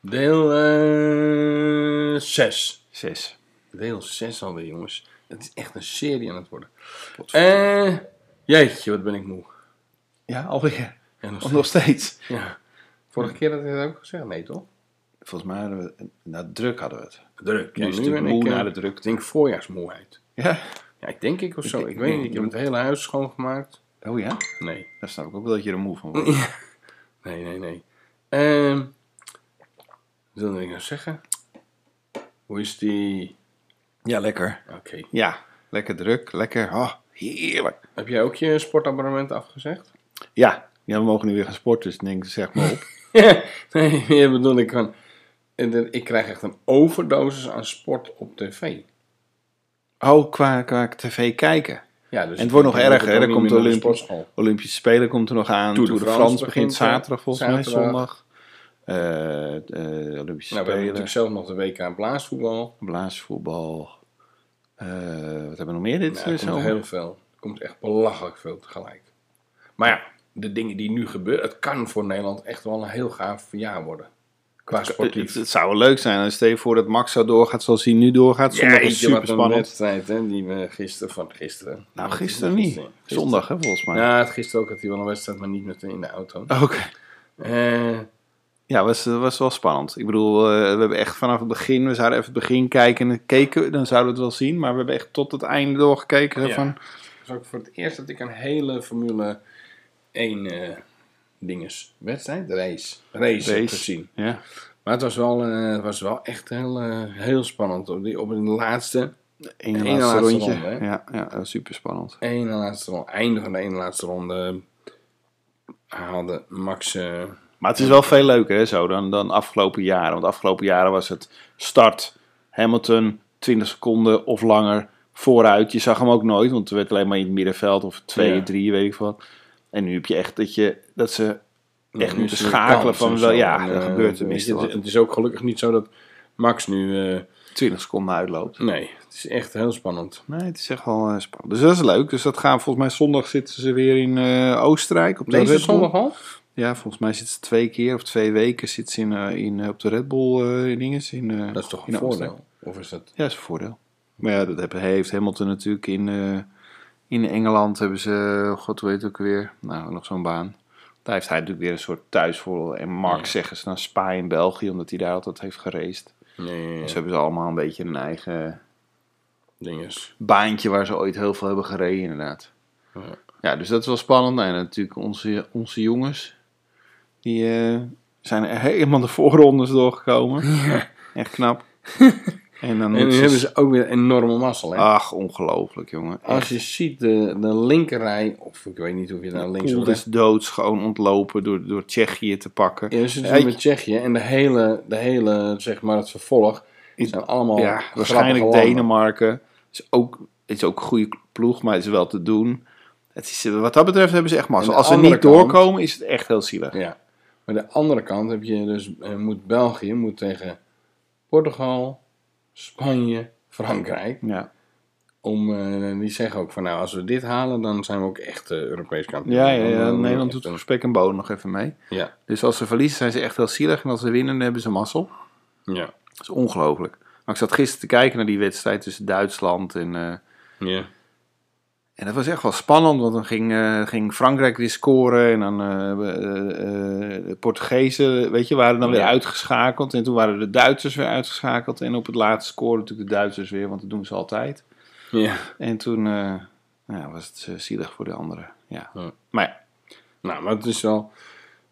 Deel 6. Zes. Deel 6 alweer, jongens. Het is echt een serie aan het worden. Eh, jeetje, wat ben ik moe. Ja, alweer. En nog Of steeds. nog steeds. Ja. Vorige keer had ik dat ook gezegd, nee toch? Volgens mij hadden we, na druk hadden we het. Druk. Nu Ja, is nu het ben moe ik, eh, na de druk. Ik denk voorjaarsmoeheid. Ja. Ja, ik denk ik of zo. denk- Ik weet niet. Ik ik heb het denk- hele huis schoongemaakt. Oh ja? Nee. Daar snap ik ook wel dat je er moe van wordt. Nee, nee, nee. Ehm wat wilde ik nou zeggen? Hoe is die... Ja, lekker. Oké. Ja, lekker druk. Lekker. Oh, heerlijk. Heb jij ook je sportabonnement afgezegd? Ja. ja, we mogen nu weer gaan sporten, dus denk, zeg maar op. nee, meer bedoel ik van... Ik krijg echt een overdosis aan sport op tv. Oh, qua, qua tv kijken. Ja, dus En het wordt nog ik denk dat erger, hè? het Er ook komt niet de meer naar Olympische, sportschool. Nou, Olympische Spelen komt er nog aan. Tour de France, begint eh, zaterdag, volgens mij zaterdag. zondag. Eh, eh, Olympische Nou, we hebben Spelen, natuurlijk zelf nog de WK blaasvoetbal. blaasvoetbal. Eh, wat hebben we nog meer dit eh, Nou, er komt zomer? heel veel. Er komt echt belachelijk veel tegelijk. Maar ja, de dingen die nu gebeuren, het kan voor Nederland echt wel een heel gaaf jaar worden. Qua Het, sportief. Eh, het zou wel leuk zijn. als Stel je voor dat Max zo doorgaat zoals hij nu doorgaat. Zondag is Jeetje, wat super een spannend. wedstrijd, hè, die we gisteren, van gisteren. Nou, gisteren niet. Zondag, hè, volgens mij. Ja, het gisteren ook had hij wel een wedstrijd, maar niet meteen in de auto. Oké. Eh, Ja, was, eh, was wel spannend. Ik bedoel, eh, we hebben echt vanaf het begin, we zouden even het begin kijken en keken, dan zouden we het wel zien. Maar we hebben echt tot het einde doorgekeken. zo Ja. Van, Het is ook voor het eerst dat ik een hele Formule 1 eh dinges wedstrijd, race, race, heb Race. gezien. ja. Maar het was wel, eh, het was wel echt heel, eh, heel spannend op, die, op de laatste, Eén Eén laatste, laatste rondje. ronde, hè? ja, ja, super spannend. ene laatste ronde, einde van de ene laatste ronde haalde Max. eh, Maar het is wel veel leuker hè, zo dan, dan afgelopen jaren. Want afgelopen jaren was het start Hamilton 20 seconden of langer vooruit. Je zag hem ook nooit, want het werd alleen maar in het middenveld of twee, Ja. drie, weet ik wat. En nu heb je echt dat, je, dat ze nu echt is moeten er een schakelen kans van en wel, zo. ja, En, er eh, gebeurt weet tenminste je, het, wat. is- het is ook gelukkig niet zo dat Max nu. eh, 20 seconden uitloopt. nee, het is echt heel spannend. Nee, het is echt wel eh, spannend. Dus dat is leuk. Dus dat gaan volgens mij zondag zitten ze weer in eh, Oostenrijk. Op de Deze Red Bull. zondag al? Ja, volgens mij zitten ze twee keer of twee weken zitten ze in, eh, in, eh, op de Red Bull eh, in dinges. In, eh, Dat is toch in een Oostenrijk. voordeel? Of is dat? Ja, is een voordeel. Maar ja, dat heb- heeft Hamilton natuurlijk in, eh, in Engeland hebben ze, eh, god weet ook weer, nou nog zo'n baan. Daar heeft hij natuurlijk weer een soort thuisvoordeel. En Mark Ja. zeggen ze naar Spa in België, omdat hij daar altijd heeft geraced. Nee, Dus hebben ze allemaal een beetje een eigen dinges. baantje waar ze ooit heel veel hebben gereden, inderdaad. Ja. Ja, dus dat is wel spannend. En natuurlijk onze, onze jongens, die eh, zijn er helemaal de voorrondes doorgekomen. Echt knap. en dan En moeten nu ze- hebben ze ook weer een enorme mazzel. Hè? Ach, ongelooflijk, jongen. Als je ziet de, de linkerrij, of ik weet niet of je daar links of Poel rechts... is dood, gewoon ontlopen door, door Tsjechië te pakken. Ja, ze Hey, doen met Tsjechië en de hele, de hele, zeg maar, het vervolg Is- zijn allemaal ja, grappige waarschijnlijk landen. Denemarken. Is ook, is ook een goede ploeg, maar is wel te doen. Het is, wat dat betreft hebben ze echt En mazzel. de Als ze andere niet kant- doorkomen, is het echt heel zielig. Ja. Maar de andere kant heb je dus, eh, moet België moet tegen Portugal, Spanje, Frankrijk. Ja. Om, eh, die zeggen ook van, nou, als we dit halen, dan zijn we ook echt eh, Europees kampioen. Ja, ja, Dan- ja. dan- eh, Nederland echt doet een- voor spek en bonen nog even mee. Ja, Dus als ze verliezen zijn ze echt heel zielig. En als ze winnen dan hebben ze mazzel. ja, Dat is ongelooflijk. Maar ik zat gisteren te kijken naar die wedstrijd tussen Duitsland en... eh, ja. en dat was echt wel spannend, want dan ging, eh, ging Frankrijk weer scoren. En dan eh, eh, eh, de Portugezen, weet je, waren dan weer Ja. uitgeschakeld. En toen waren de Duitsers weer uitgeschakeld. En op het laatst scoren natuurlijk de Duitsers weer, want dat doen ze altijd. ja. En toen eh, nou, was het eh, zielig voor de anderen. Ja. Ja. Maar ja, Nou, maar het is wel.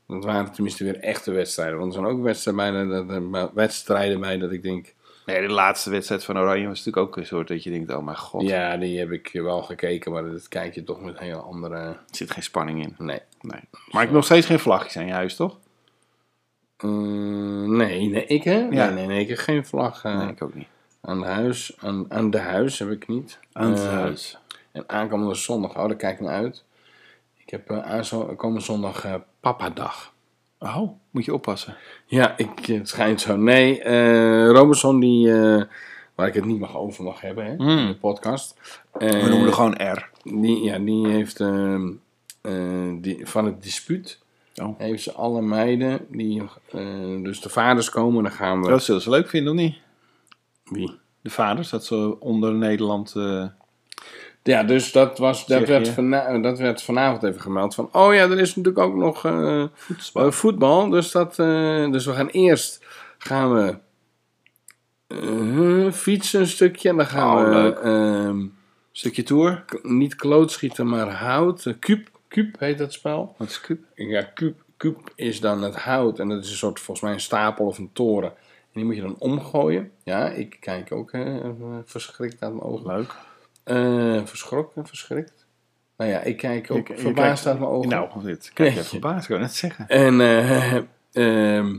Dat waren tenminste weer echte wedstrijden. Want er zijn ook wedstrijden bij, dat, dat- wedstrijden bij dat ik denk. Nee, de laatste wedstrijd van Oranje was natuurlijk ook een soort dat je denkt, oh mijn god, Ja, die heb ik wel gekeken, maar dat kijk je toch met een hele andere. er zit geen spanning in. Nee. Nee. Maar ik heb nog steeds geen vlagjes aan je huis, toch? Mm, nee, nee, ik hè? Ja. Nee, nee, nee, ik heb geen vlag eh, Nee, ik ook niet. aan de huis. Aan, aan de huis heb ik niet. Eh, En aankomende zondag, oh, daar kijk ik naar uit. Ik heb eh aankomende zondag eh Papadag. Oh, moet je oppassen. Ja, ik, het schijnt zo. Nee, eh Robinson, die, eh, waar ik het niet mag over mag hebben hè, in de podcast. eh, We noemen er gewoon R. die, ja, die heeft ehm, eh, die, van het dispuut Oh. Heeft ze alle meiden, die, eh, dus de vaders komen, dan gaan we. Dat zullen ze leuk vinden, of niet? Wie? De vaders, dat ze onder Nederland... eh, Ja, dus dat, was, dat, Zeg werd je? vana- dat werd vanavond even gemeld. Van, oh ja, er is natuurlijk ook nog eh, eh, voetbal. Dus, dat, eh, dus we gaan eerst gaan we, eh, fietsen een stukje. En dan gaan Oh, we leuk. ehm, stukje tour. k- niet klootschieten, maar hout. Eh, Kuub, Kuub heet dat spel. Wat is Kuub? Ja, kuub, kuub is dan het hout. En dat is een soort, volgens mij, een stapel of een toren. En die moet je dan omgooien. Ja, ik kijk ook eh, verschrikt uit mijn ogen. Leuk. Eh, verschrokken, verschrikt. Nou ja, ik kijk ook Je- je verbaasd kijkt- uit mijn ogen. Nou, dit. Kijk, Nee. je verbaasd, ik wou net zeggen. En eh, ehm,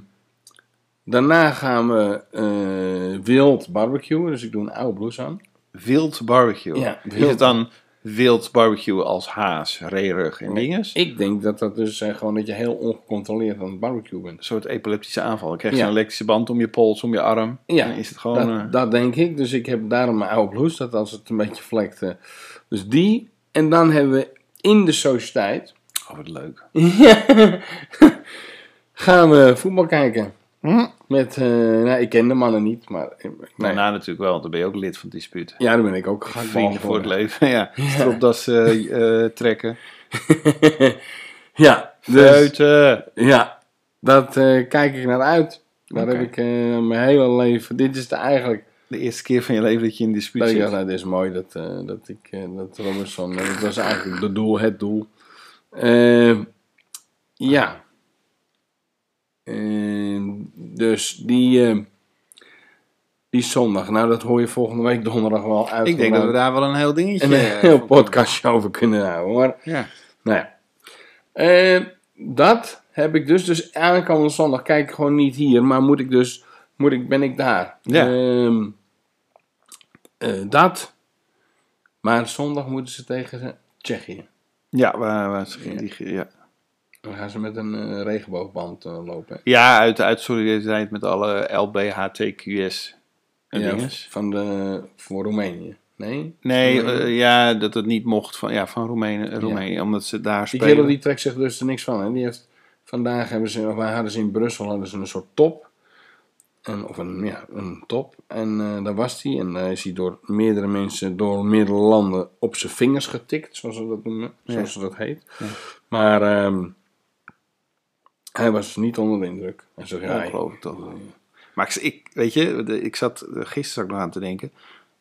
daarna gaan we eh, wild barbecuen. Dus ik doe een oude blouse aan. Wild barbecue. Ja, Is wild. het dan wild barbecue als haas, reerug en dinges? Ik denk dat dat dus eh, gewoon dat je heel ongecontroleerd aan het barbecue bent. Een soort epileptische aanval. Dan krijg je Ja. een elektrische band om je pols, om je arm. Ja, Dan is het gewoon... dat, eh, dat denk ik. Dus ik heb daarom mijn oude blouse. Dat als het een beetje vlekt. eh, dus die. En dan hebben we in de sociëteit. Oh, wat leuk. gaan we voetbal kijken. Hm? Met, eh, nou, ik ken de mannen niet, maar... eh, nee. Daarna natuurlijk wel, want dan ben je ook lid van het dispuut. Ja, dan ben ik ook gehaktbal Vrienden voor het leven, ja. Stropdas eh, eh, trekken. Ja, dus, Buiten. ja, dat eh, kijk ik naar uit. Daar Oké. heb ik eh, mijn hele leven... Dit is de, eigenlijk... De eerste keer van je leven dat je in dispuut Dat ik zit. dacht, nou, dit is mooi dat, eh, dat ik... eh, dat Robinson... eh, dat was eigenlijk de doel, het doel. Eh, ja. Eh, dus die... eh, die zondag. Nou, dat hoor je volgende week donderdag wel uit. Ik denk dat we daar wel een heel dingetje... een eh, heel van- podcastje over kunnen houden. Maar Ja. Nou ja. Eh, dat heb ik dus. Dus aankomende zondag kijk ik gewoon niet hier. Maar moet ik dus... Moet ik, ben ik daar. Ja. Ehm, eh, dat. Maar zondag moeten ze tegen Tsjechië. Ja, waar, waar, die- ja. Dan gaan ze met een eh, regenboogband eh, lopen. ja uit, uit solidariteit met alle LBHTQS en Ja, dinges. van de... Voor Roemenië. Nee? Nee, Roemenië. eh, ja, dat het niet mocht van, ja, van Roemenië, Roemenië omdat ze daar Die spelen. kerel die trekt zich dus er niks van. Hè? Die heeft, vandaag hebben ze, of hadden ze in Brussel hadden ze een soort top. En, of een, ja, een top. En eh, daar was hij. En daar is hij door meerdere mensen, door meerdere landen op zijn vingers getikt. Zoals ze dat noemen. Zoals dat heet. Maar ehm, hij was niet onder de indruk. Hij zegt, ja, geloof ik toch. Maar ik, ik, weet je, de- ik zat eh, gisteren ook nog aan te denken.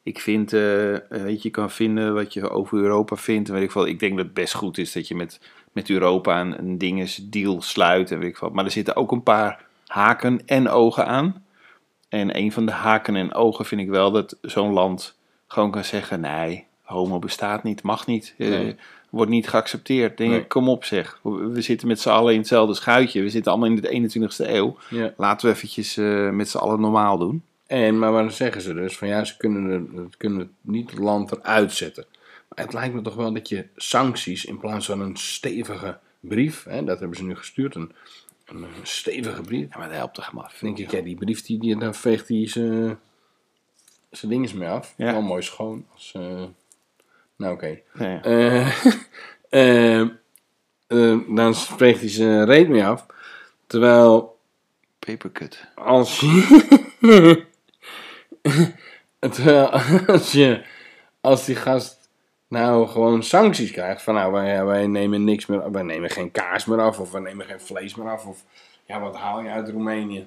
Ik vind, eh, eh, weet je, je kan vinden wat je over Europa vindt. En weet ik, veel. ik denk dat het best goed is dat je met, met Europa een, een dinges deal sluit. En weet ik wat. Maar er zitten ook een paar haken en ogen aan. En een van de haken en ogen vind ik wel dat zo'n land gewoon kan zeggen: nee, homo bestaat niet, mag niet, eh, Nee. wordt niet geaccepteerd. Denk Nee. ik, kom op zeg. We we zitten met z'n allen in hetzelfde schuitje. We zitten allemaal in de 21ste eeuw. ja. Laten we eventjes eh, met z'n allen normaal doen. En, maar dan zeggen ze dus van ja, ze kunnen, er- het kunnen het niet het land eruit zetten. Maar het lijkt me toch wel dat je sancties in plaats van een stevige brief, hè, dat hebben ze nu gestuurd, een, een stevige brief. Ja, maar dat helpt toch maar. Dan denk ik, ja, die brief die, die daar veegt hij zijn zijn dinges mee af. Ja. Wel mooi schoon. Als, eh, nou oké. Ja, ja. Eh, eh, eh, dan veegt hij zijn reet mee af. Terwijl Papercut. als je. Terwijl, als je. Als die gast nou gewoon sancties krijgt. Van nou, wij, wij nemen niks meer. Wij nemen geen kaas meer af. Of wij nemen geen vlees meer af. Of ja, wat haal je uit Roemenië?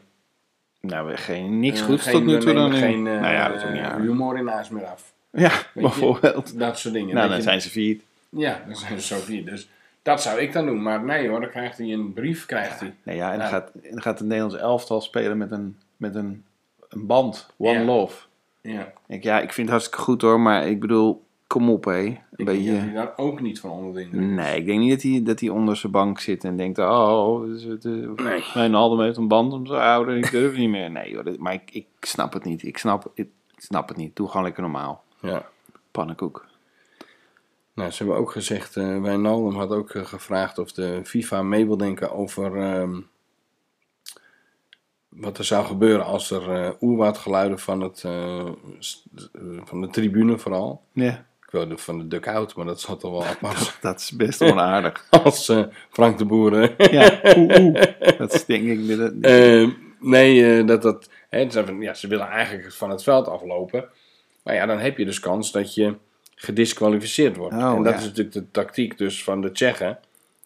Nou, we- geen, niks Eh, goeds geen- tot nu we toe dan. nemen nu. Geen eh, nou ja, dat is ook niet aardig. humor in huis meer af. Ja, je? bijvoorbeeld. Dat soort dingen. Nou, weet dan je. zijn ze failliet. Ja, dat zijn zo vier. Dus dat zou ik dan doen. Maar nee hoor, dan krijgt hij een brief. Krijgt hij. Nou ja, en dan, Ja. Gaat, en dan gaat het Nederlands elftal spelen met een, met een, een band. One Ja. Love. Ja. Ik, ja, ik vind het hartstikke goed hoor, maar ik bedoel, kom op hé. Een Ik denk beetje... dat hij daar ook niet van onder de indruk is. Nee, ik denk niet dat hij, dat hij onder zijn bank zit en denkt: Oh, dus het, eh, Nee. mijn Aldem heeft een band om zijn ouder en ik durf niet meer. Nee, joh, dit- maar ik, ik snap het niet. Ik snap, ik snap het niet. Doe gewoon lekker normaal. Ja. Pannenkoek. Nou, ze hebben ook gezegd, eh Wijnaldum had ook eh, gevraagd of de FIFA mee wil denken over ehm, wat er zou gebeuren als er eh oerwoudgeluiden van, het, eh, st- eh, van de tribune vooral Ja. wilde van de duck-out, maar dat zat toch wel apart. Dat is best onaardig. Als eh, Frank de Boer. hè. ja, oeh, oeh. Dat is denk ik... dat- Eh, nee, eh, dat dat. Hè, ze, hebben- ja, ze willen eigenlijk van het veld aflopen. Maar ja, dan heb je dus kans dat je gedisqualificeerd wordt. Oh, en dat ja. is natuurlijk de tactiek dus van de Tsjechen.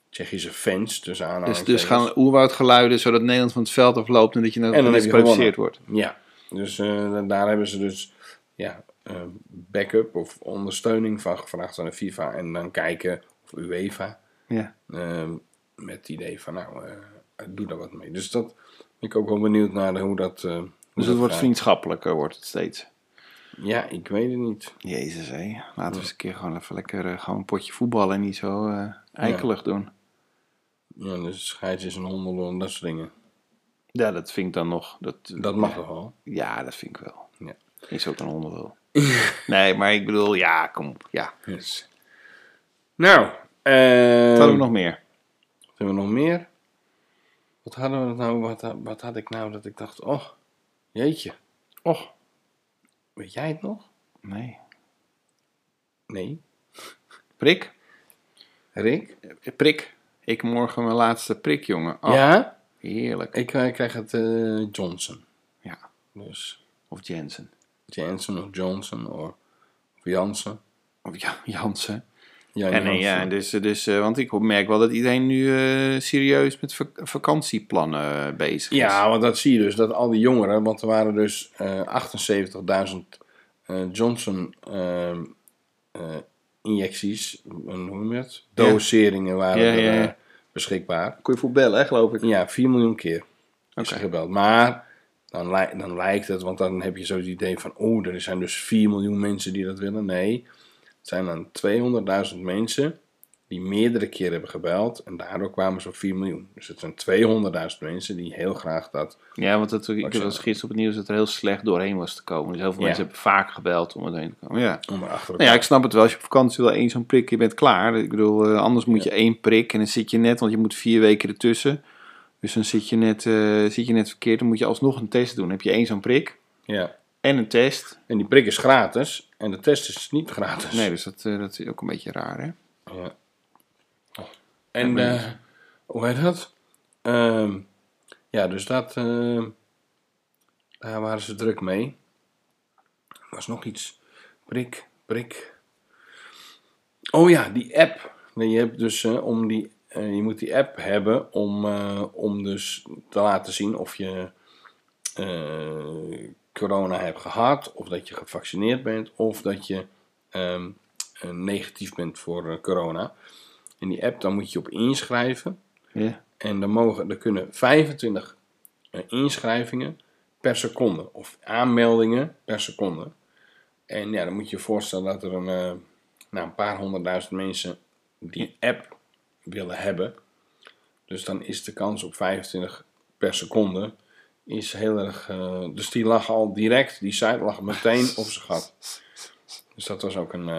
Tsjechische fans, tussen dus, aanhalingstekens. dus gaan oerwoudgeluiden zodat Nederland van het veld afloopt en dat je En dan dan heb je gedisqualificeerd wordt. Ja, dus eh, daar hebben ze dus ja, eh, backup of ondersteuning van gevraagd aan de FIFA. En dan kijken, of UEFA, Ja. eh, met het idee van nou, eh, doe daar wat mee. Dus dat ben ik ook wel benieuwd naar de- hoe dat... eh, hoe Dus het wordt gaat. vriendschappelijker wordt het steeds. Ja, ik weet het niet. Jezus, hé. Laten we eens een keer gewoon even lekker eh, gewoon een potje voetballen en niet zo eh, eikelig doen. Ja, dus scheidjes en honden en dat soort dingen. Ja, dat vind ik dan nog. Dat, Dat mag toch wel? Ja, dat vind ik wel. Ja. Is ook een onderdeel. nee, maar ik bedoel, ja, kom op. Ja. Yes. Nou, Wat eh hadden we nog meer? hebben we nog meer? Wat hadden we het nou? Wat, ha- wat had ik nou dat ik dacht, oh, jeetje. Och, Weet jij het nog? nee. Nee. Prik? Rick? Eh, Prik. Ik morgen mijn laatste prik, jongen. Oh, Ja? Heerlijk. Ik eh, krijg het eh, Johnson. Ja. Dus Of Jensen. Jansen of Johnson of, of Jansen. Of ja, Jansen. Jan En eh, ja, Jansen. dus, dus, eh, want ik merk wel dat iedereen nu eh, serieus met vak- vakantieplannen eh, bezig is. Ja, want dat zie je dus, dat al die jongeren, want er waren dus eh 78.000 eh, Johnson eh, eh, injecties, een- hoe noem je het? Ja. Doseringen waren Ja, er, ja, ja. eh, beschikbaar. Kun je voor bellen, hè, geloof ik. Ja, 4 miljoen keer is Oké. er gebeld. Maar dan, lij- dan lijkt het, want dan heb je zo het idee van, oh, er zijn dus 4 miljoen mensen die dat willen. Nee, het zijn dan 200.000 mensen die meerdere keren hebben gebeld en daardoor kwamen ze op 4 miljoen. Dus het zijn 200.000 mensen die heel graag dat Ja, want dat, ik Vaccin. was gisteren op het nieuws dat er heel slecht doorheen was te komen. Dus heel veel Ja. mensen hebben vaak gebeld om erheen te komen. Ja. om erachter Nou ja, ik snap het wel. Als je op vakantie wil één zo'n prik, je bent klaar. Ik bedoel, eh, anders moet je één prik en dan zit je net, want je moet vier weken ertussen. Dus dan zit je net, eh, zit je net verkeerd. Dan moet je alsnog een test doen. Dan heb je één zo'n prik Ja. en een test. En die prik is gratis en de test is niet gratis. Nee, dus dat, eh, dat is ook een beetje raar, hè? Ja. En eh, hoe heet dat? Ehm, ja, dus dat. ehm, daar waren ze druk mee. Er was nog iets. Prik, prik. Oh ja, die app. Nee, Je, hebt dus, eh, om die, eh, je moet die app hebben om, eh, om dus te laten zien of je eh, corona hebt gehad, of dat je gevaccineerd bent, of dat je ehm, eh, negatief bent voor eh, corona. In die app dan moet je op inschrijven. Ja. En dan mogen, er kunnen 25 eh, inschrijvingen per seconde. Of aanmeldingen per seconde. En ja, dan moet je je voorstellen dat er een, eh, nou, een paar honderdduizend mensen die app willen hebben. Dus dan is de kans op 25 per seconde is heel erg... eh, dus die lag al direct, die site lag meteen op zijn gat. Dus dat was ook een... eh,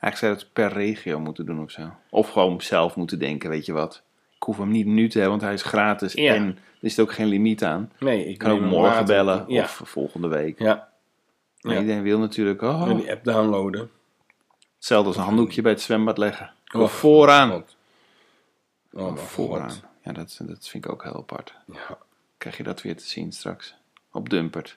Eigenlijk zou je dat per regio moeten doen of zo. Of gewoon zelf moeten denken, weet je wat. Ik hoef hem niet nu te hebben, want hij is gratis. Ja. En er zit ook geen limiet aan. nee, ik Ik kan ook neem hem morgen later. bellen Ja. of volgende week. ja. Maar Ja. iedereen wil natuurlijk, oh, En die app downloaden. hetzelfde als een handdoekje bij het zwembad leggen. Oh, Of vooraan. God. Oh, mijn Vooraan. God. Ja, dat, dat vind ik ook heel apart. Ja. Krijg je dat weer te zien straks. Op Dumpert.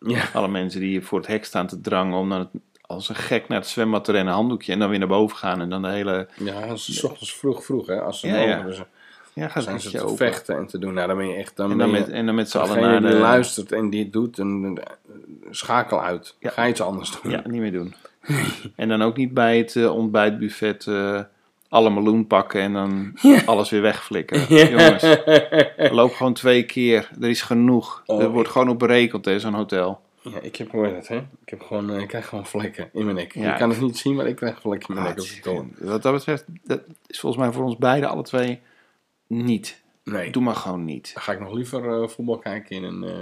Ja. Alle mensen die hier voor het hek staan te drangen om dan het, als een gek naar het zwembad te rennen, handdoekje. En dan weer naar boven gaan en dan de hele... ja, s ochtends vroeg, vroeg, hè. Als ze Ja, mogen, ja. dus Ja, gaat zijn het ze met je te open. vechten en te doen. Nou, dan ben je echt... Dan En dan ben met, je, en dan met z'n allen degene naar die de... luistert en die het doet, en, eh, schakel uit. Ja. Ga iets anders doen. Ja, niet meer doen. en dan ook niet bij het eh, ontbijtbuffet eh, alle meloen pakken en dan alles weer wegflikkeren. Jongens, loop gewoon twee keer. Er is genoeg. Oh, er wordt gewoon op berekend, hè, zo'n hotel. Ja, ik heb, hoe heet het, hè. Ik, heb gewoon, eh, ik krijg gewoon vlekken in mijn nek. Ja, Je kan het niet zien, maar ik krijg vlekken in mijn nek. Ah, Als ik het hoor. wat dat betreft, dat is volgens mij voor ons beiden alle twee niet. Nee, Doe maar gewoon niet. dan ga ik nog liever eh, voetbal kijken in een eh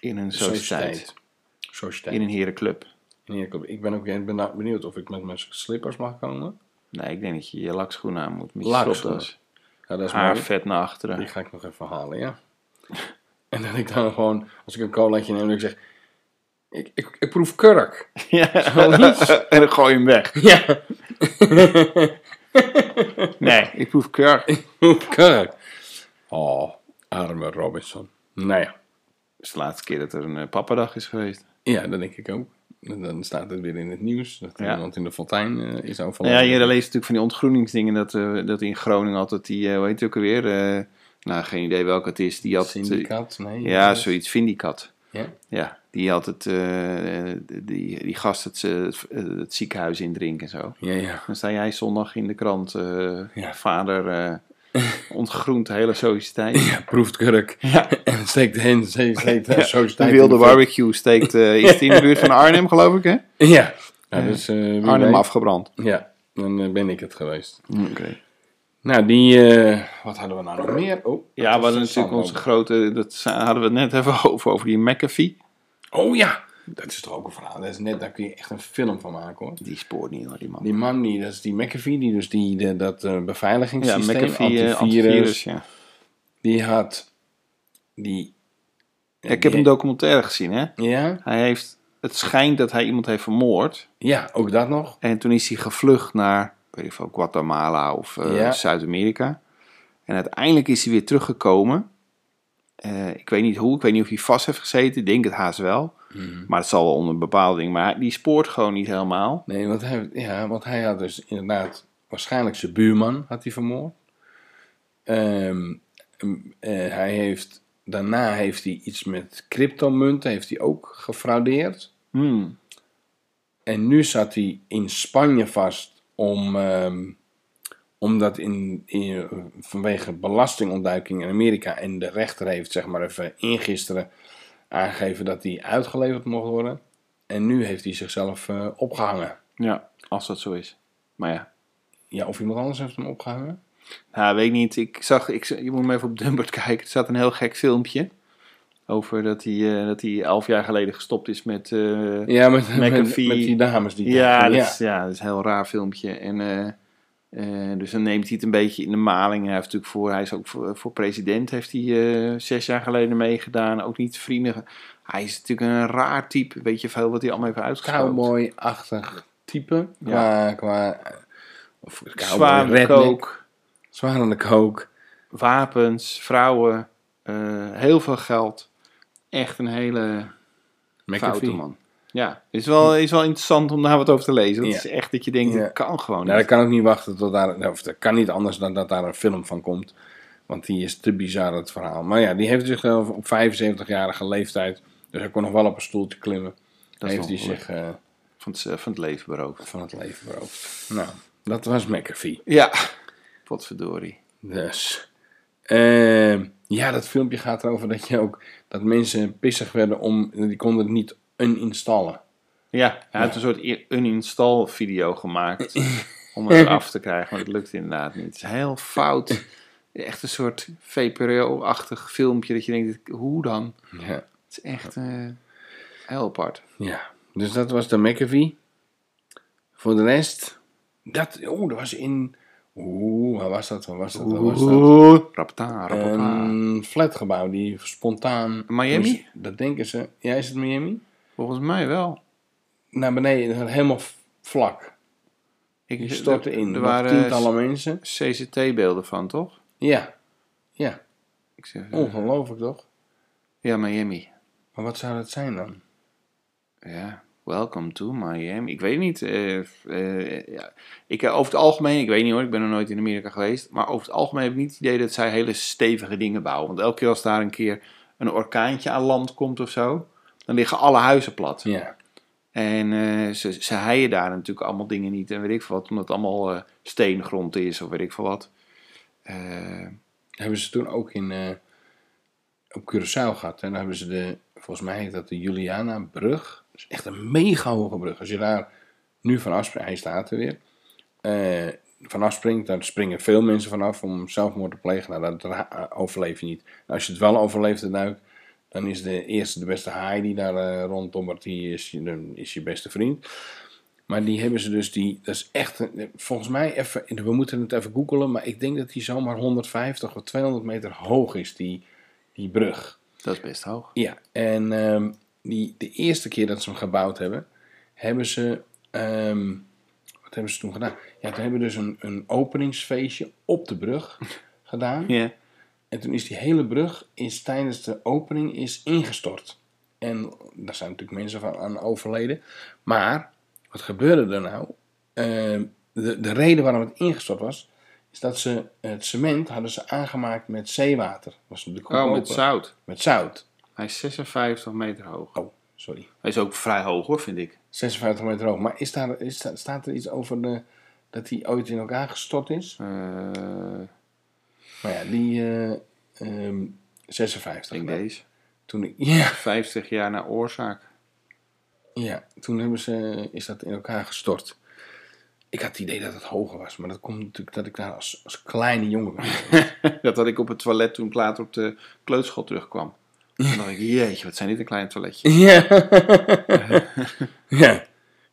In een sociëteit. sociëteit. Sociëteit. In een herenclub. En hier komt- Ik ben ook ik ben nou benieuwd of ik met mijn slippers mag komen. Nee, ik denk dat je je lakschoenen aan moet. Met je Lakschoenen. stropdas. Ja, dat is Haar mooi. vet naar achteren. Die ga ik nog even halen, ja. En dat ik dan gewoon, als ik een colaatje neem, dat ik zeg... Ik, ik, ik proef kurk. Ja. wel niets. en dan gooi je hem weg. Ja. Nee, ik proef kurk. kurk. Oh, arme Robinson. Nou ja. Het is de laatste keer dat er een eh, pappadag is geweest. Ja, dat denk ik ook. Dan staat het weer in het nieuws. Dat Ja. iemand in de fontein eh, is overleden. Nou ja, je leest natuurlijk van die ontgroeningsdingen dat, eh, dat in Groningen altijd die, eh hoe heet het ook alweer? eh, nou, geen idee welke het is. Die had, eh, Syndicaat? Nee. Ja, dat is- zoiets. Vindicat. Ja. Ja, die had het, eh, eh, die, die gast het, eh, het ziekenhuis indrinken en zo. Ja, ja. Dan sta jij zondag in de krant, eh, Ja. vader eh ontgroent de hele sociëteit. Ja, proeft kurk. Ja. En steekt heen, steekt, steekt eh, zo De staat wilde hij- barbecue steekt, eh, is het in de buurt van Arnhem geloof ik hè? Ja. ja dus, eh, wie Arnhem weet. afgebrand. Ja, dan eh, ben ik het geweest. Mm, Oké. Nou, die... eh, wat hadden we nou nog meer? Oh, Ja, we hadden natuurlijk onze grote, dat hadden we het net even over, over die McAfee. Oh ja! Dat is toch ook een verhaal. Dat is net, daar kun je echt een film van maken, hoor. Die spoort niet hoor, die man. Die man, die, dat is die McAfee, die dus die, de- dat eh, ja, beveiligingssysteem, McAfee, eh, antivirus, antivirus, ja. die had... Die... Ja, Ik heb een documentaire gezien hè. Ja? Hij heeft, het schijnt dat hij iemand heeft vermoord. Ja, ook dat nog. En toen is hij gevlucht naar, weet ik veel, Guatemala of eh, Ja. Zuid-Amerika. En uiteindelijk is hij weer teruggekomen. Eh, ik weet niet hoe, ik weet niet of hij vast heeft gezeten. Ik denk het haast wel. Maar het zal wel onder een bepaalde ding. Maar hij- die spoort gewoon niet helemaal. Nee, want hij, ja, want hij had dus inderdaad... Waarschijnlijk zijn buurman had hij vermoord. Ehm, ehm, eh, hij heeft... Daarna heeft hij iets met cryptomunten, heeft hij ook gefraudeerd. Hmm. En nu zat hij in Spanje vast om, ehm, omdat in, in- vanwege belastingontduiking in Amerika en de rechter heeft zeg maar even ingisteren aangegeven dat hij uitgeleverd mocht worden. En nu heeft hij zichzelf eh, opgehangen. Ja, als dat zo is. Maar ja, Ja, of iemand anders heeft hem opgehangen? nou, weet ik niet. Ik zag, ik, z- je moet maar even op Dumbert kijken. Er staat een heel gek filmpje. Over dat hij, eh, dat hij elf jaar geleden gestopt is met... eh, Ja, met, met, met McAfee. die dames die Ja, daar- dat is, ja, dat is een heel raar filmpje. En, eh, eh, dus dan neemt hij het een beetje in de maling. Hij, heeft natuurlijk voor, hij is ook voor, voor president, heeft hij eh, zes jaar geleden meegedaan. Ook niet vrienden. Hij is natuurlijk een raar type. Weet je veel wat hij allemaal heeft uitgeschouwd. cowboy-achtig type. Ja. Qua, qua of Zwaar redneck. kook, Zwaar aan de kook. wapens, vrouwen, eh, heel veel geld. Echt een hele foute McAfee. man. Ja, is wel, is wel interessant om daar wat over te lezen. Het Ja. is echt dat je denkt, Ja. dat kan gewoon Nou, niet. dat kan ook niet wachten tot daar. nou, Of dat kan niet anders dan dat daar een film van komt. Want die is te bizar, het verhaal. Maar ja, die heeft zichzelf op 75-jarige leeftijd. Dus hij kon nog wel op een stoeltje klimmen. Dat is heeft hij nog zich eh, van, het, van het leven beroofd. van het leven beroofd. Nou, dat was McAfee. Ja. Potverdorie. Dus. ehm, ja, dat filmpje gaat erover dat je ook. dat mensen pissig werden om. die konden het niet uninstallen. Ja, hij heeft een soort i- uninstall video gemaakt om het af te krijgen, maar dat lukt inderdaad niet. Het is heel fout. Echt een soort VPRO-achtig filmpje dat je denkt, hoe dan? Ja. Het is echt eh, heel apart. ja. Dus dat was de McAfee. Voor de rest. Dat. Oeh, dat was in. Oeh, waar was dat? Waar was dat? Waar was dat? Rapta, Ehm, rapta. Een flatgebouw die spontaan. Miami? Dus dat denken ze. Ja, is het Miami? Volgens mij wel. Naar beneden, helemaal v- vlak. Ik, Die stortte er- in. Er Er waren tientallen mensen. CCT-beelden van, toch? Ja, ja. Ik zeg, Oh. eh, Ongelooflijk toch? ja, Miami. Maar wat zou dat zijn dan? Ja, welcome to Miami. Ik weet niet. eh, eh, ja. ik, eh, over het algemeen, ik weet niet hoor, ik ben nog nooit in Amerika geweest. Maar over het algemeen heb ik niet het idee dat zij hele stevige dingen bouwen. Want elke keer als daar een keer een orkaantje aan land komt of zo, dan liggen alle huizen plat. Ja, En eh, ze, ze heien daar natuurlijk allemaal dingen niet en weet ik veel wat, omdat het allemaal eh, steengrond is of weet ik veel wat. Eh, hebben ze toen ook in, eh, op Curaçao gehad. En daar hebben ze de, volgens mij heet dat de Juliana-brug. Dat is echt een mega hoge brug. Als je daar nu van afspringt, hij staat er weer. eh, vanaf springt, daar springen veel mensen vanaf om zelfmoord te plegen. Nou, dat ra- eh, overleef je niet. En als je het wel overleeft, de duik, dan is de eerste, de beste haai die daar eh ronddommert, die is je, dan is je beste vriend. Maar die hebben ze dus, die, dat is echt, een- volgens mij, even, we moeten het even googelen, maar ik denk dat die zomaar 150 of 200 meter hoog is, die, die brug. dat is best hoog. Ja, en ehm, die, de eerste keer dat ze hem gebouwd hebben, hebben ze. ehm, wat hebben ze toen gedaan? Ja, toen hebben we dus een, een openingsfeestje op de brug gedaan. Ja. En toen is die hele brug is, tijdens de opening is ingestort. En daar zijn natuurlijk mensen van aan overleden. Maar wat gebeurde er nou? Eh, de, de reden waarom het ingestort was, is dat ze het cement hadden ze aangemaakt met zeewater. Was natuurlijk Oh, goedkoper. met zout. Met zout. Hij is 56 meter hoog. Oh, sorry. Hij is ook vrij hoog hoor, vind ik. 56 meter hoog. Maar is daar, is, daar- staat er iets over de, dat die ooit in elkaar gestort is? Eh, Nou ja, die eh, ehm, 56. ik denk deze. Toen ik, ja, 50 jaar na oorzaak. Ja, toen hebben ze, is dat in elkaar gestort. Ik had het idee dat het hoger was, maar dat komt natuurlijk dat ik daar als, als kleine jongen was. Dat had ik op het toilet toen ik later op de kleuterschool terugkwam. Toen dacht ik, jeetje, wat zijn dit een klein toiletje. ja. ja.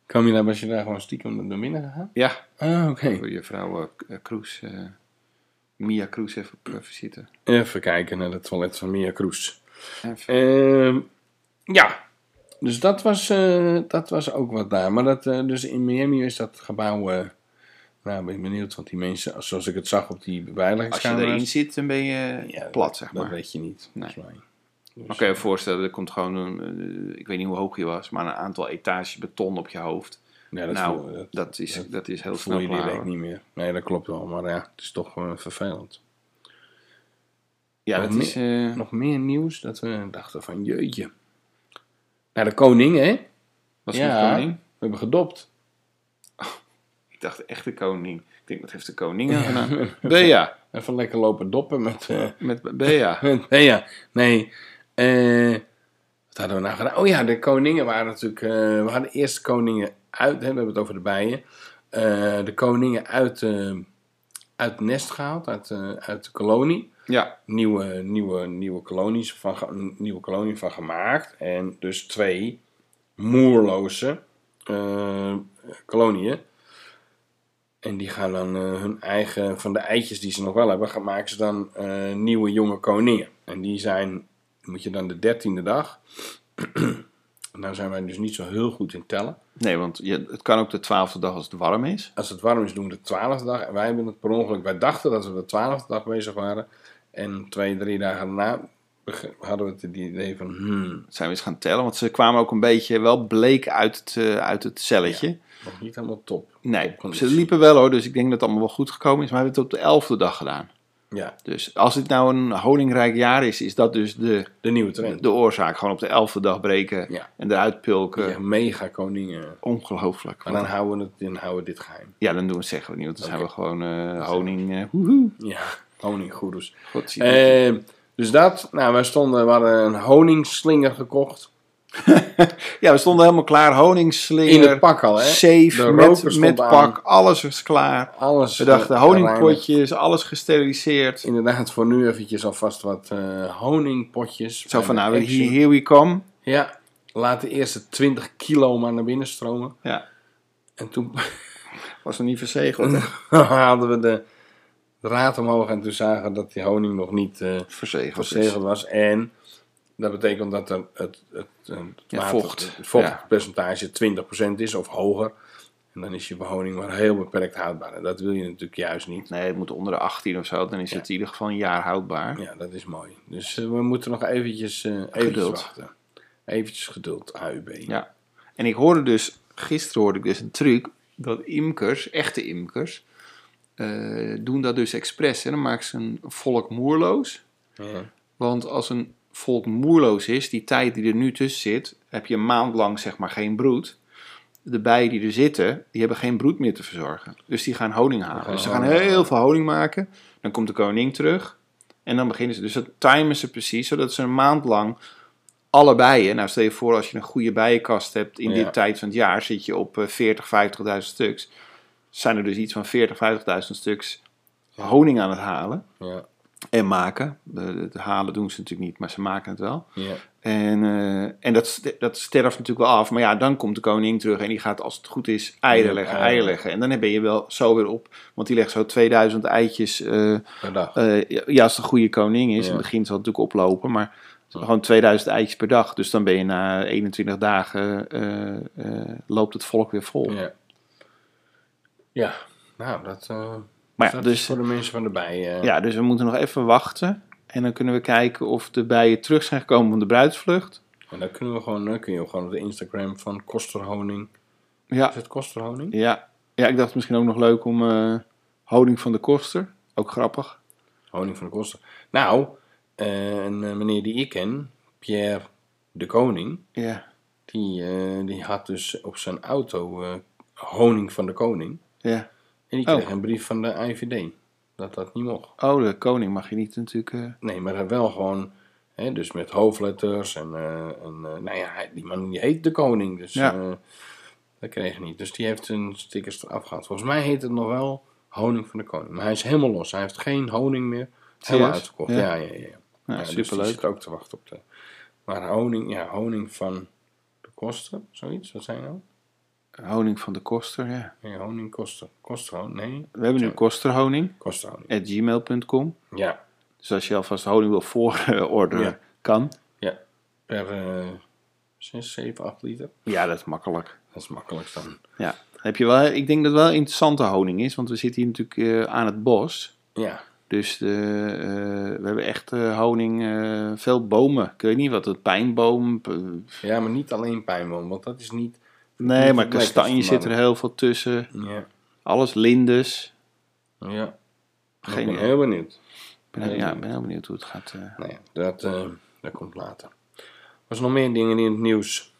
Kwam je daar, was je daar gewoon stiekem naar binnen gegaan? Ja, Ah, oké. voor je vrouw eh, eh, Kroes, eh, Mia Kroes even op eh, visite. Even kijken naar het toilet van Mia Kroes. Even. Ehm, ja. Dus dat was, eh, dat was ook wat daar. Maar dat, eh, dus in Miami is dat gebouw... eh, nou, ben ik benieuwd, want die mensen, zoals ik het zag op die Als je beveiligingscamera's... erin zit, dan ben je Ja, plat, zeg Dat maar. weet je niet, volgens mij. Maar kan je je voorstellen, er komt gewoon, een, eh, ik weet niet hoe hoog je was, maar een aantal etages beton op je hoofd. Ja, dat nou, voel- dat- dat, is, dat dat, is heel dat voel snel je klaar. direct hoor. niet meer. Nee, dat klopt wel, maar ja, het is toch gewoon vervelend. Ja, Nog dat is... eh, Nog meer nieuws dat we dachten van jeetje. Naar de koning, hè? was Ja. het de koning? We hebben gedopt. Ik dacht echt de koning. Ik denk, wat heeft de koning aan gedaan? Bea. Even lekker lopen doppen met... eh Met Bea. met nee, ja, nee. eh, wat hadden we nou gedaan? Oh ja, de koningen waren natuurlijk... eh, we hadden eerst de koningen uit... Hè, we hebben het over de bijen. eh, de koningen uit, eh, uit het nest gehaald, uit, eh, uit de kolonie. Ja, nieuwe, nieuwe, nieuwe, kolonies van, ge- nieuwe kolonie van gemaakt. En dus twee moerloze eh, koloniën. En die gaan dan eh, hun eigen, van de eitjes die ze nog wel hebben, gaan maken ze dan eh, nieuwe jonge koningen. En die zijn, moet je dan de dertiende dag. nou zijn wij dus niet zo heel goed in tellen. nee, want je, het kan ook de twaalfde dag als het warm is. Als het warm is, doen we de twaalfde dag. En wij hebben het per ongeluk. Wij dachten dat we de twaalfde dag bezig waren. En twee, drie dagen daarna beg- hadden we het idee van... Hmm, Dat zijn we eens gaan tellen, want ze kwamen ook een beetje wel bleek uit het, eh, uit het celletje. nog niet helemaal top. Nee, Topconditie. ze liepen wel hoor, dus ik denk dat het allemaal wel goed gekomen is. Maar we hebben het op de elfde dag gedaan. Ja, Dus als dit nou een honingrijk jaar is, is dat dus de, de nieuwe trend. de oorzaak. Gewoon op de elfde dag breken Ja. en eruit pilken. Ja, mega koningen. Ongelooflijk. Maar dan houden we, het, dan houden we dit geheim. Ja, dan doen we het zeggen we niet, want dan zijn we gewoon eh, honing. eh Ja, honinggoeroes. God, zie je. Eh, dus dat. Nou, wij stonden, we hadden een honingslinger gekocht. ja, we stonden helemaal klaar. In Honingsslinger, het pak al, hè. safe, De met, roker stond met aan. pak, alles was klaar. Alles We dachten eh, gereinigd. honingpotjes, alles gesteriliseerd. Inderdaad, voor nu eventjes alvast wat eh, honingpotjes. Zo Bij van, de nou, Action. here, here we come. Ja, laat de eerste 20 kilo maar naar binnen stromen. Ja, En toen was nog niet verzegeld. hè? haalden we de draad omhoog en toen zagen we dat die honing nog niet eh, Verzegeld. is. verzegeld was. En dat betekent dat er het, het, het, het Ja, water- vocht. het vochtpercentage 20% is of hoger. En dan is je honing maar heel beperkt houdbaar. En dat wil je natuurlijk juist niet. Nee, het moet onder de 18 of zo. Dan is het in ieder geval een jaar houdbaar. Ja, dat is mooi. Dus eh, we moeten nog eventjes, eh eventjes Geduld. wachten. Eventjes geduld, AUB. Ja. En ik hoorde dus, gisteren hoorde ik dus een truc, dat imkers, echte imkers, eh, doen dat dus expres. Hè? Dan maken ze een volk moerloos. Ja. Want als een volk moerloos is, die tijd die er nu tussen zit, heb je een maand lang zeg maar geen broed. De bijen die er zitten, die hebben geen broed meer te verzorgen. Dus die gaan honing halen. gaan Dus ze gaan honing heel halen. veel honing maken. Dan komt de koning terug. En dan beginnen ze. Dus dat timen ze precies, zodat ze een maand lang alle bijen... Nou, stel je voor als je een goede bijenkast hebt in Ja. dit tijd van het jaar... zit je op eh, 40, 50.000 stuks. Zijn er dus iets van 40, 50.000 stuks honing aan het halen. Ja. En maken. De- Het halen doen ze natuurlijk niet, maar ze maken het wel. Ja. En, eh, en dat, st- dat sterft natuurlijk wel af. Maar ja, dan komt de koning terug en die gaat als het goed is eieren Ja, leggen, eieren. eieren leggen. En dan ben je wel zo weer op. Want die legt zo 2000 eitjes. eh, Per dag. eh, ja, als de goede koning is. Ja. In het begin zal het natuurlijk oplopen. Maar Gewoon 2000 eitjes per dag. Dus dan ben je na 21 dagen eh, eh, loopt het volk weer vol. Ja. Ja, nou, dat, eh Maar ja, dat is dus, voor de mensen van de bijen. eh, ja, dus we moeten nog even wachten. En dan kunnen we kijken of de bijen terug zijn gekomen van de bruidsvlucht. En dan kunnen we gewoon, dan kun je ook gewoon op de Instagram van Kosterhoning. Ja, Is het Kosterhoning? ja. ja ik dacht misschien ook nog leuk om eh, honing van de koster. Ook grappig. Honing van de Koster. Nou, eh, een eh, meneer die ik ken, Pierre de Koning, Ja, die, eh, die had dus op zijn auto eh, Honing van de Koning. ja. En die Oh. kreeg een brief van de IVD. Dat dat niet mocht. Oh, de koning mag je niet natuurlijk... eh, Nee, maar hij wel gewoon, hè, dus met hoofdletters en, eh, en eh, nou ja, hij- die man die heet de koning, dus Ja. eh, dat kreeg hij niet. Dus die heeft zijn stickers eraf gehad. Volgens mij heet het nog wel honing van de koning, maar hij is helemaal los. Hij heeft geen honing meer, helemaal Serieus? uitverkocht. Ja. Ja, ja, ja. ja. nou, Ja, dus die superleuk. zit ook te wachten op de... Maar honing, ja, honing van de koster, zoiets, wat zijn nou? Honing van de koster, ja. Nee, honing koster. Kosterhoning, nee, We hebben nu Zo. kosterhoning, kosterhoning. at gmail.com. Ja, Dus als je alvast honing wil voororderen, Ja. kan. per eh 6, 7, 8 liter. Ja, dat is makkelijk. Dat is makkelijk dan. Ja. Heb je wel, ik denk dat het wel interessante honing is, want we zitten hier natuurlijk eh, aan het bos. Ja, Dus de, eh, we hebben echt eh, honing, eh, veel bomen. Ik weet niet wat, het pijnboom. p- Ja, maar niet alleen pijnboom, want dat is niet. nee, maar het lekkerste, kastanje zit er man. heel veel tussen. Ja. Alles lindes. ja. Geen ik ben idee. heel benieuwd. Ik ben, heel- ja, ik ben heel benieuwd hoe het gaat. eh. Nou ja, dat, eh, dat komt later. Was er nog meer dingen in het nieuws?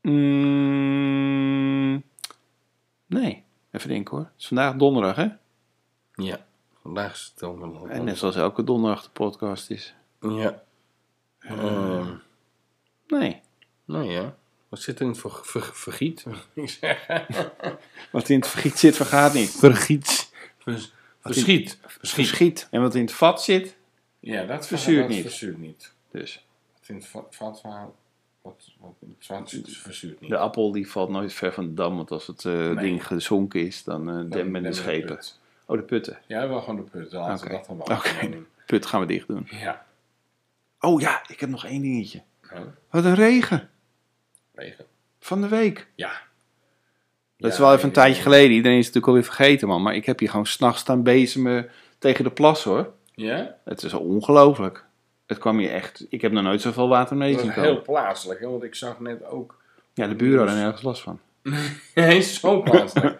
Mm, nee, even denken hoor. Het is vandaag donderdag, hè? Ja. Vandaag is het allemaal. En net zoals elke donderdag de podcast is. Ja. Ehm, Nee. nou ja. Wat zit er in het ver- ver- vergiet? Ik zeg. Wat in het vergiet zit, vergaat niet. Vergiet. Vers, verschiet. Verschiet. Verschiet. En wat in het vat zit, Ja, dat Verzuurt dat niet. Verzuurt niet. dus. Wat in het va- vat waar- Wat, wat in het zwart zit, verzuurt niet. De appel die valt nooit ver van de dam, want als het eh, ding gezonken is, dan eh Dan- demmen dan de de schepen. put. Oh, de putten. Ja, wel gewoon de put. De laatste Oké. dag dan wel. Oké, put gaan we dicht doen. "Hmm, Ja. Oh ja, ik heb nog één dingetje. Nou, Wat een regen regen. van de week. Ja. Dat is Ja, wel even een ja, tijdje ja. geleden. Iedereen is het natuurlijk alweer vergeten, man. Maar ik heb hier gewoon s'nachts staan bezemen tegen de plas, hoor. Ja? Het is ongelooflijk. Het kwam hier echt... Ik heb nog nooit zoveel water mee Dat zien is komen. heel dus- plaatselijk, hè, want ik zag net ook... Ja, de buren hadden nergens last van. Hij is zo plaatselijk.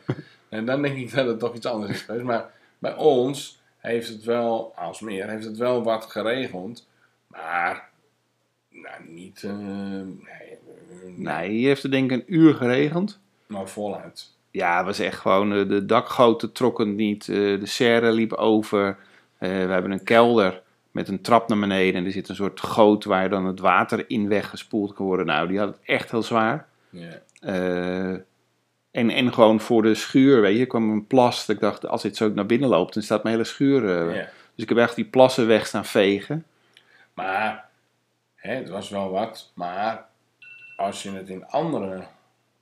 en dan denk ik dat het toch iets anders is geweest. Maar bij ons heeft het wel, als meer, heeft het wel wat geregeld. Maar, nou niet... eh, nee, eh, Nee, hier heeft het denk ik een uur geregend. maar voluit. Ja, het was echt gewoon, eh, de dakgoten trokken niet, eh, de serre liep over. Eh, we hebben een kelder met een trap naar beneden en er zit een soort goot waar dan het water in weggespoeld kan worden. Nou, die had het echt heel zwaar. Ja. Eh, en, en gewoon voor de schuur, weet je, er kwam een plas. dat Ik dacht, als dit zo naar binnen loopt, dan staat mijn hele schuur. eh, Ja. Dus ik heb echt die plassen weg staan vegen. Maar, hè, het was wel wat. Maar als je het in andere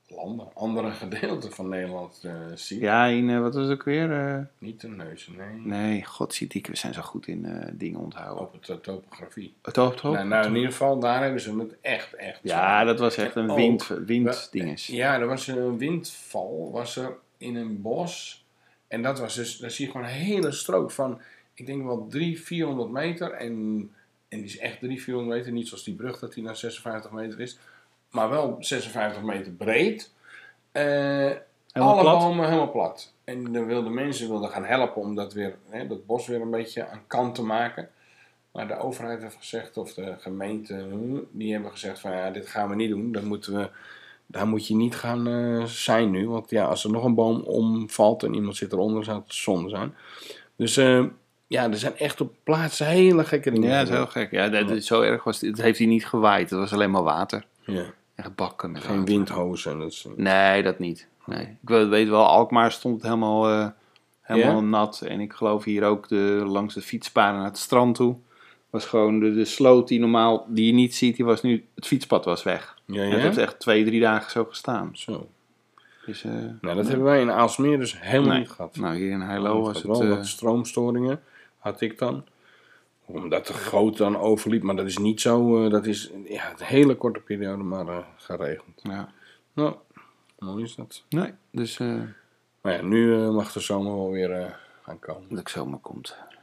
landen, andere gedeelten van Nederland eh, ziet... Ja, in, eh, wat was het ook weer? Eh, Niet de neus, nee. nee, god ziet ik, we zijn zo goed in eh, dingen onthouden. Op het eh, topografie. Het hoofd, Nou, nou, in ieder geval, daar hebben ze het echt, echt. Ja, dat was echt een Oh, wind, we- winddinges. Ja, er was een windval, was er in een bos. En dat was dus, daar zie je gewoon een hele strook van, ik denk wel 300, 400 meter. En, en die is echt 300, 400 meter. Niet zoals die brug, dat die naar 56 meter is. Maar wel 56 meter breed. Eh, alle plat? bomen helemaal plat. En de wilde mensen wilden gaan helpen om dat, weer, hè, dat bos weer een beetje aan kant te maken. Maar de overheid heeft gezegd, of de gemeente, hm, die hebben gezegd van ja, dit gaan we niet doen. Dat moeten we, daar moet je niet gaan eh, zijn nu. Want ja, als er nog een boom omvalt en iemand zit eronder, zou het zonde zijn. Dus eh, ja, er zijn echt op plaatsen hele gekke dingen. Ja, dat is heel gek. Ja, dat, dat- zo erg was het. Het heeft hier niet gewaaid. Het was alleen maar water. Ja, Echt bakken. met geen water. windhozen. Dat is, Nee, dat niet. Nee. Ik weet, weet wel, Alkmaar stond helemaal, eh, helemaal nat. En ik geloof hier ook de, langs de fietspaden naar het strand toe. Was gewoon de, de sloot die normaal die je niet ziet, die was nu, het fietspad was weg. ja, En dat heeft echt twee, drie dagen zo gestaan. Zo. Dus, eh, Nou, dat hebben wij in Aalsmeer dus helemaal Nee. niet gehad. nou, hier in Heilo was Oh, het... Wel eh, wat stroomstoringen had ik dan. Omdat de groot dan overliep. Maar dat is niet zo. eh, dat is ja, een hele korte periode maar eh, geregeld. Ja. Nou, mooi is dat. Nee, dus eh, Maar ja, nu eh, mag de zomer wel weer eh, gaan komen. dat ik zomaar komt. We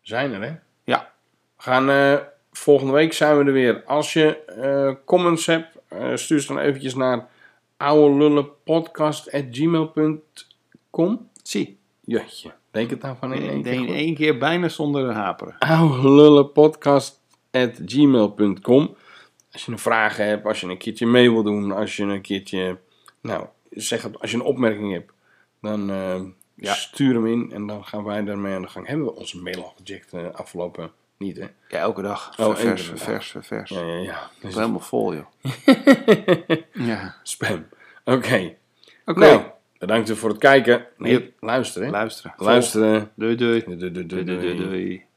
zijn er, hè? Ja. We gaan, eh, volgende week zijn we er weer. Als je eh, comments hebt, eh, stuur ze dan eventjes naar ouwelullenpodcast.gmail.com. Zie. Jeetje, denk het nou van in één In keer. goed. één keer bijna zonder haperen. ouwelullenpodcast.gmail.com. Als je een vraag hebt, als je een keertje mee wil doen, als je een keertje, nou, zeg het, als je een opmerking hebt, dan eh, Ja. stuur hem in en dan gaan wij daarmee aan de gang. Hebben we onze mail al gecheckt eh, afgelopen? Niet, hè? Ja, elke dag. Oh, vers, elke dag. vers, vers, vers. Ja, ja, ja. Dus Helemaal vol, joh. ja. spam. Oké. Oké. Nou, bedankt voor het kijken. Nee, Yep. luisteren. hè? Luisteren. Luisteren. Doei, doei. Doei, doei, doei, Doei, doei, doei. doei. doei.